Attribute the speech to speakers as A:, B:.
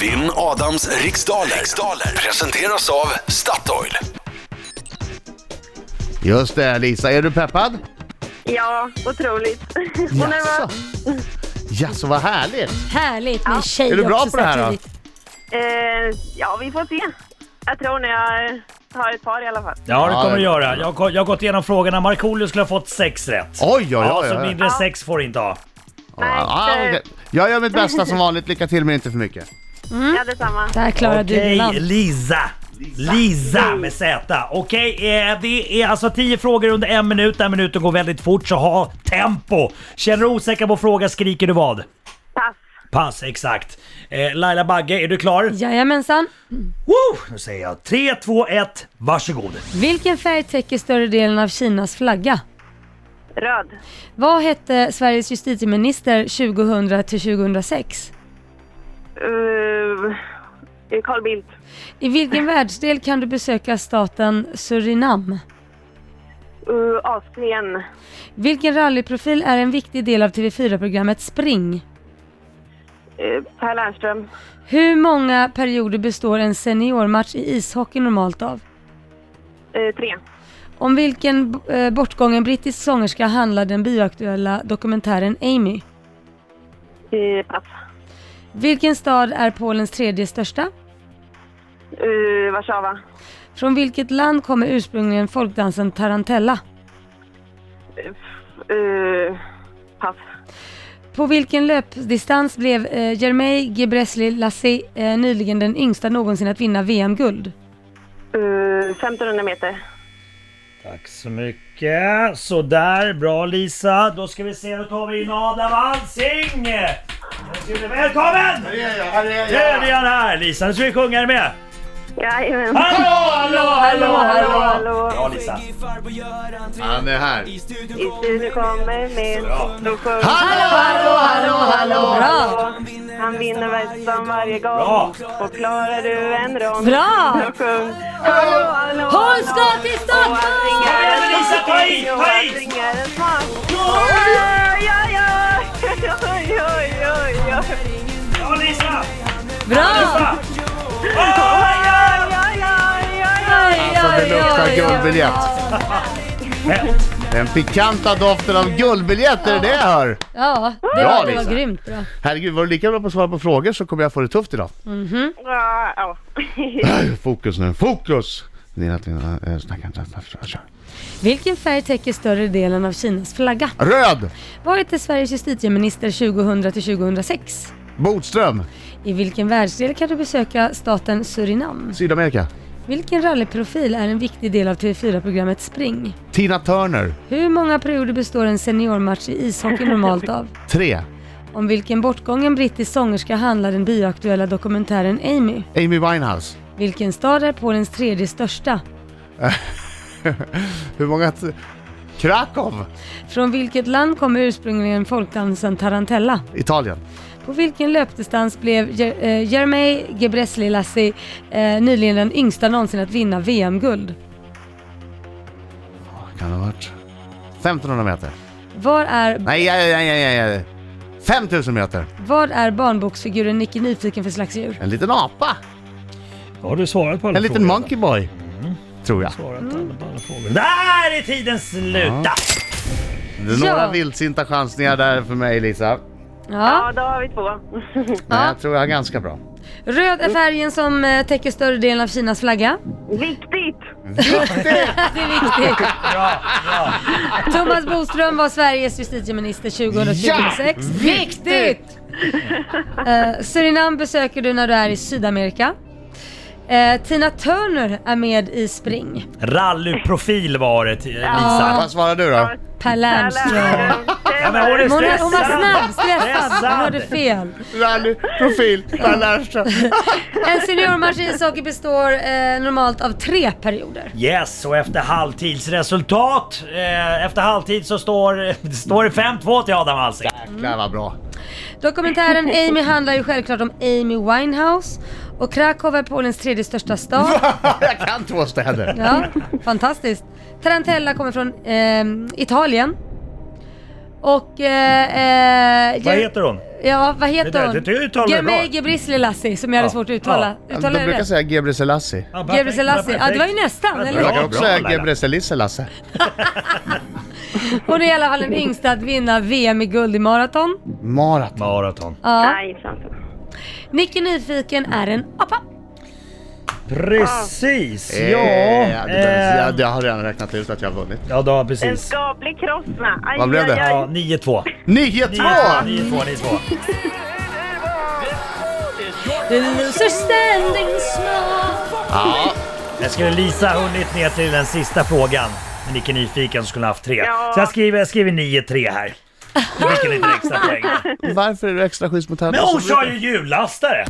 A: Vinn Adams riksdaler. riksdaler presenteras av Statoil.
B: Just det, Lisa. Är du peppad?
C: Ja, otroligt. Och när
B: Jaså?
C: var,
B: Jaså, vad härligt!
D: Härligt med tjej
B: Är du bra
D: också
B: på det här då?
D: samtidigt.
C: eh, ja, vi får se. Jag tror när jag har ett par i alla fall.
E: Ja, det
B: Ja,
E: kommer
B: det-
E: du göra. Jag, har- jag har gått igenom frågorna. Markoolio skulle ha fått sex rätt.
B: Oj, oj, oj!
E: ja,
B: oj,
E: så
B: oj.
E: mindre än sex får du inte ha.
C: Nej,
B: Ah,
C: det-
B: okej. Jag gör mitt bästa som vanligt. Lycka till, men inte för mycket.
C: Ja, detsamma.
D: Där klarar du
E: Okej,
D: land.
E: Lisa. Lisa med Z. Okej, eh, det är alltså 10 frågor under en minut. Den minuten går väldigt fort, så ha tempo. Känner du osäker på fråga skriker du vad?
C: Pass.
E: Pass, exakt. Eh, Laila Bagge, är du klar?
D: Jajamensan.
E: Woo! Nu säger jag 3, 2, 1, varsågod.
D: Vilken färg täcker större delen av Kinas flagga?
C: Röd.
D: Vad hette Sveriges justitieminister 2000 till 2006?
C: Uh, Carl Bildt.
D: I vilken världsdel kan du besöka staten Surinam?
C: Uh, Asien.
D: Vilken rallyprofil är en viktig del av TV4-programmet Spring?
C: Uh, per Lernström.
D: Hur många perioder består en seniormatch i ishockey normalt av?
C: Uh, tre.
D: Om vilken eh, bortgången brittisk sångerska handlar den bioaktuella dokumentären Amy?
C: Uh, pass.
D: Vilken stad är Polens tredje största?
C: Uh, Warszawa.
D: Från vilket land kommer ursprungligen folkdansen Tarantella?
C: Uh, pass.
D: På vilken löpdistans blev eh, Jermej Gebresli Lassi eh, nyligen den yngsta någonsin att vinna VM-guld?
C: Uh, 1500 meter.
E: Tack så mycket. Sådär, bra Lisa. Då ska vi se, då tar vi in Adam Alsing! Välkommen! Nu är vi här Lisa, nu ska vi sjunga med.
C: Jajamän.
E: Hallå, hallå, hallå,
C: Hallå,
E: hallå! Bra
C: hallå.
E: Lisa.
B: Han är här. Alltså,
C: I studion kommer min. Då sjunger
B: Hallå, hallå, hallå, hallå!
D: Bra!
C: Han vinner Western varje gång.
E: Bra.
C: Och klarar du en rond.
D: Bra.
C: Så sjung. Hallå, hallå,
D: Hon
C: hallå.
D: ska till
C: Och han ringer
D: Stockholm!
E: igen,
C: en
E: Lisa, ta i,
C: smaking och
E: ta
C: han
E: i.
C: ringer en smak. Oj, oj, oj. Oj, oj, oj, oj.
E: Bra Lisa!
D: Bra!
E: Lisa! Oj,
C: Oj,
E: oj, oj.
C: oj, oj, oj.
D: Alltså
B: Alltså, det luktar guldbiljett.
E: Men,
B: Den pikanta doften av guldbiljett, är det det jag hör?
D: Ja, det
B: Bra,
D: var, det
B: Lisa.
D: var grymt bra.
B: Herregud, var du lika bra på att svara på frågor så kommer jag få det tufft idag.
C: Ja, ja.
B: Fokus nu, fokus! Dina dina, eh, snacka inte, snacka, kör.
D: Vilken färg täcker större delen av Kinas flagga?
B: Röd!
D: Vad hette Sveriges justitieminister 2000 till 2006?
B: Bodström,
D: I vilken världsdel kan du besöka staten Surinam?
B: Sydamerika.
D: Vilken rallyprofil är en viktig del av TV4-programmet Spring?
B: Tina Turner,
D: Hur många perioder består en seniormatch i ishockey normalt av?
B: tre.
D: Om vilken bortgången brittisk sångerska handlar den bioaktuella dokumentären Amy?
B: Amy Winehouse.
D: Vilken stad är Polens tredje största?
B: Hur många... t- Krakow,
D: Från vilket land kommer ursprungligen folkdansen Tarantella?
B: Italien.
D: På vilken löpdistans blev Jer- eh, Jermej Gebresli Lassi eh, nyligen den yngsta någonsin att vinna VM-guld?
B: Vad kan det ha varit? 1500 meter.
D: Var är,
B: Nej, nej, nej, nej, nej. 5000 meter.
D: vad är barnboksfiguren Nicky Nyfiken för slags djur?
B: En liten apa.
E: Har du svarat på alla
B: En liten
E: frågor?
B: monkey boy.
E: Mm.
B: Tror jag.
E: Svarat på alla, på alla frågor. Där är tiden slut!
B: Det är några
D: Ja.
B: vildsinta chansningar där för mig Lisa.
C: Ja,
D: Ja.
C: då har vi två.
B: Men jag tror jag är ganska bra.
D: Röd är färgen som eh, täcker större delen av Kinas flagga.
C: Viktigt!
D: Det är viktigt. Thomas Boström var Sveriges justitieminister 2026. Viktigt! Eh, Surinam besöker du när du är i Sydamerika. Eh, Tina Turner är med i Spring.
E: Rallyprofil var det till Lisa.
B: Vad svarar du då?
D: Per Lernström.
C: Läraren.
E: Ja, men hon är
D: Hon, är,
E: stressad!
D: hon var snabb, stressad.
E: Stressad.
D: Hon hade fel.
B: Rally, profil, Per Lernström.
D: En seniormatch i ishockey består eh, normalt av tre perioder.
E: Yes, och efter halvtidsresultat. Eh, efter halvtid så står, står det 5-2 till Adam Alsing.
B: Jäklar vad bra.
D: Dokumentären Amy handlar ju självklart om Amy Winehouse och Krakow är Polens tredje största stad.
B: jag kan två städer.
D: Ja, fantastiskt. Tarantella kommer från ehm, Italien. Och... Eh, eh,
E: Vad
D: Ge-
E: heter hon?
D: Ja, vad heter
E: Det där-
D: hon?
E: det- det uttalar du
D: Gemei
E: bra.
D: Gebriselassie som jag hade
E: Ja.
D: svårt att uttala.
B: Ja,
D: Uttalar
B: de
D: jag
B: brukar
D: det?
B: säga Gebre Selassie.
E: Ja, perfekt,
D: Gebre Selassie. Ja, det var ju
E: perfekt.
D: nästan, eller
B: Jag
E: Bra,
B: brukar
D: hur?
B: också
E: bra,
B: säga
E: Laila.
B: Gebre Selassie Lasse.
D: Hon är i alla fall den yngsta att vinna VM i guld i maraton.
B: Marat.
E: Maraton.
D: Ja.
C: Nej, sant.
D: Nicke Nyfiken är en apa.
E: Precis, ja.
B: Eh, det,
E: eh,
B: jag, jag har redan räknat ut att jag har vunnit.
E: Ja, då,
C: En
E: precis.
C: skaplig kross med. Aj,
B: Vad blev det?
C: aj, aj.
E: Ja, 9-2.
B: 9-2!
E: 9-2, 9-2.
D: The loser standing small.
E: Jag skulle Lisa hunnit ner till den sista frågan. Men Nicke Nyfiken skulle haft tre.
C: Ja.
E: Så jag skriver, jag skriver 9-3 här. Det fick en liten extra poäng. oh,
B: Varför är det extra schysst mot henne? Alltså,
E: Men hon kör ju hjullastare!